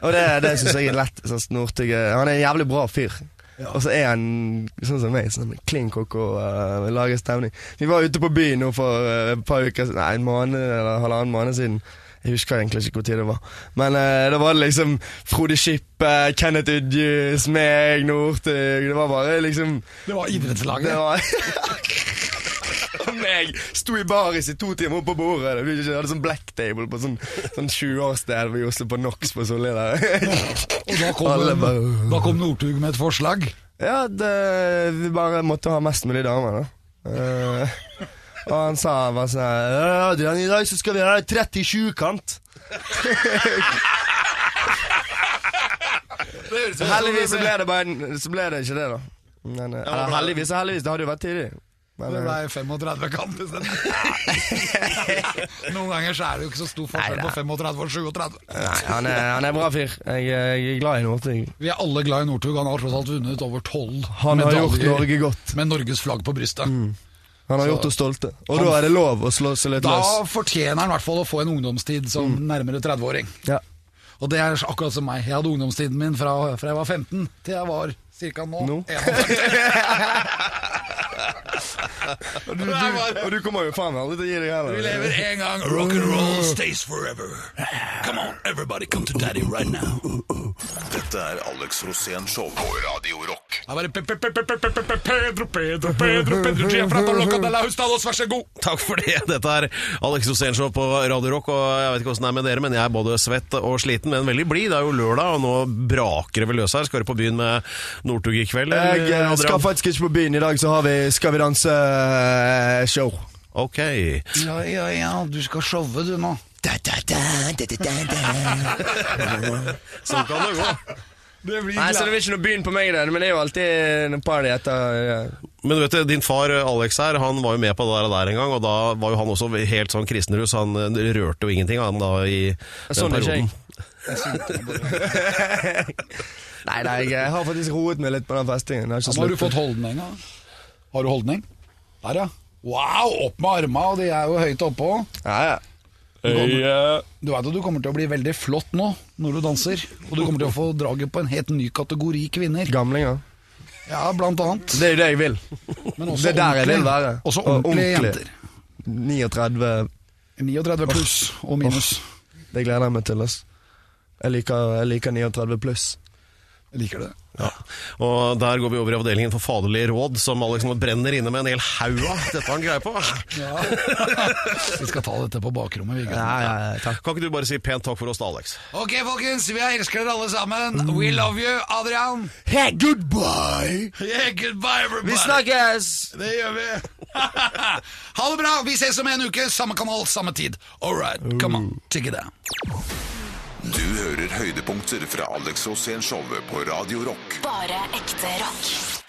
S1: Og det, det syns jeg er lett. Sånn som Northug er- Han er en jævlig bra fyr. Og så er han sånn som meg, sånn klin koko, uh, lager stemning. Vi var ute på byen nå for eh, et par uker siden, nei, en måned eller halvannen måned siden. Jeg husker egentlig ikke hvor tid det var. Men eh, da var det liksom Frode Skippe, Kenneth Udjus, meg, Northug. Det var bare liksom
S4: Det var
S1: det
S4: idrettslaget.
S1: var Og meg sto i baris i to timer oppe på bordet. Det blir ikke- Jeg hadde sånn black table på sånn, sånn 20-årssted ved Oslo på Nox på Solli der.
S4: Og da kom,
S1: Alle
S4: en-
S1: bare-
S4: da kom Northug med et forslag.
S1: Ja, det, vi bare måtte ha mest mulig damer, da. Eh, og han sa bare sånn her «Ja, Adrian, i dag så skal vi ha 37-kant. Heldigvis så ble det bare en- Så ble det ikke det, da. Men, eh, eller heldigvis og heldigvis, det hadde jo vært tidlig. Men,
S5: Det
S1: eh,
S5: ble 35 kant i stedet. Noen ganger så er det jo ikke så stor forskjell på 35 og 37.
S1: nei, han er, han er bra fyr. Jeg, er- jeg er glad i Northug.
S5: Vi er alle glad i Northug. Han har tross alt vunnet over 12
S1: Han har gjort
S5: medaljer
S1: Norge Mm, godt.
S5: med Norges flagg på brystet.
S1: Han har gjort oss stolte. Og da er det lov å slå seg litt
S5: Da
S1: løs.
S5: fortjener han i hvert fall å få en ungdomstid som
S1: Mm.
S5: nærmere 30-åring.
S1: Ja.
S5: Og det er akkurat som meg. Jeg hadde ungdomstiden min fra, fra jeg var 15 til jeg var ca. nå.
S1: Nå.
S5: 41.
S1: Og, du, du, og du kommer jo faen aldri til å gi deg heller.
S5: Vi lever en gang.
S4: Rock and roll stays forever. Come on, everybody, come to daddy right now.
S2: Dette er Alex Rosén Show på Radio Rock.
S5: Da var det pe- pe- pe- pe- pe- pe- pe- Pedro, Pedro, Pedro, Pedro Gia fra Taloca de la Hustados, vær så god!
S3: Takk for det. Dette er Alex Rosénshow på Radio Rock. Og jeg vet ikke åssen det er med dere, men jeg er både svett og sliten, men veldig blid. Det er jo lørdag, og nå braker det vel løs her. Skal du på byen med Northug i kveld?
S1: Jeg
S3: eller,
S1: eh,
S3: Adrian?
S1: skal faktisk ikke på byen. I dag så har vi Skal vi eh, danse-show.
S3: Ok.
S5: Ja, ja, ja, du skal showe du nå.
S3: Sånn kan det gå.
S5: Det blir
S1: Nei, så det blir ikke noe byen på meg, i det, men det er jo alltid en party etter eh, ja.
S3: Men vet du, din far eh, Alex her, han var jo med på det der, der en gang, og da var jo han også helt sånn kristenrus. Han eh, rørte jo ingenting, han da, i den
S1: Sånn er ikke
S3: perioden.
S1: jeg. Nei, nei, jeg har faktisk roet meg litt på den festingen. Det er ikke
S5: Har du
S1: slutt.
S5: fått holdning, da? Har du holdning? Der, ja. Wow, opp med arma, og de er jo høyt oppå.
S1: Ja, ja.
S5: Du vet at du kommer til å bli veldig flott nå, når du danser. Og du kommer til å få draget på en helt ny kategori kvinner.
S1: Gamlinger.
S5: Ja, blant annet.
S1: Det er jo det jeg vil.
S5: Men også
S1: Det er der jeg vil
S5: ordentlige-
S1: være.
S5: Også
S1: Og
S5: ordentlige
S1: ordentlig.
S5: jenter.
S1: 39
S5: 39 pluss og minus.
S1: Det gleder jeg meg til. ass. Jeg liker, jeg liker 39 pluss.
S5: Jeg liker det.
S3: Ja. Og der går vi over i avdelingen for faderlige råd, som Alex nå brenner inne med en hel haug av. Dette har han greie på.
S5: Vi skal ta dette på bakrommet, vi.
S1: Ja, ja, ja, takk.
S3: Kan ikke du bare si pent takk for oss da, Alex?
S5: Ok, folkens, vi elsker dere alle sammen. We love you, Adrian.
S1: Hey, goodbye!
S5: Yeah, goodbye, everybody.
S1: Vi snakkes!
S5: Det gjør vi. ha det bra. Vi ses om en uke. Samme kanal, samme tid. All right, come on. Take it down.
S2: Du hører høydepunkter fra Alex Rosén Showet på Radio Rock.
S7: Bare ekte rock.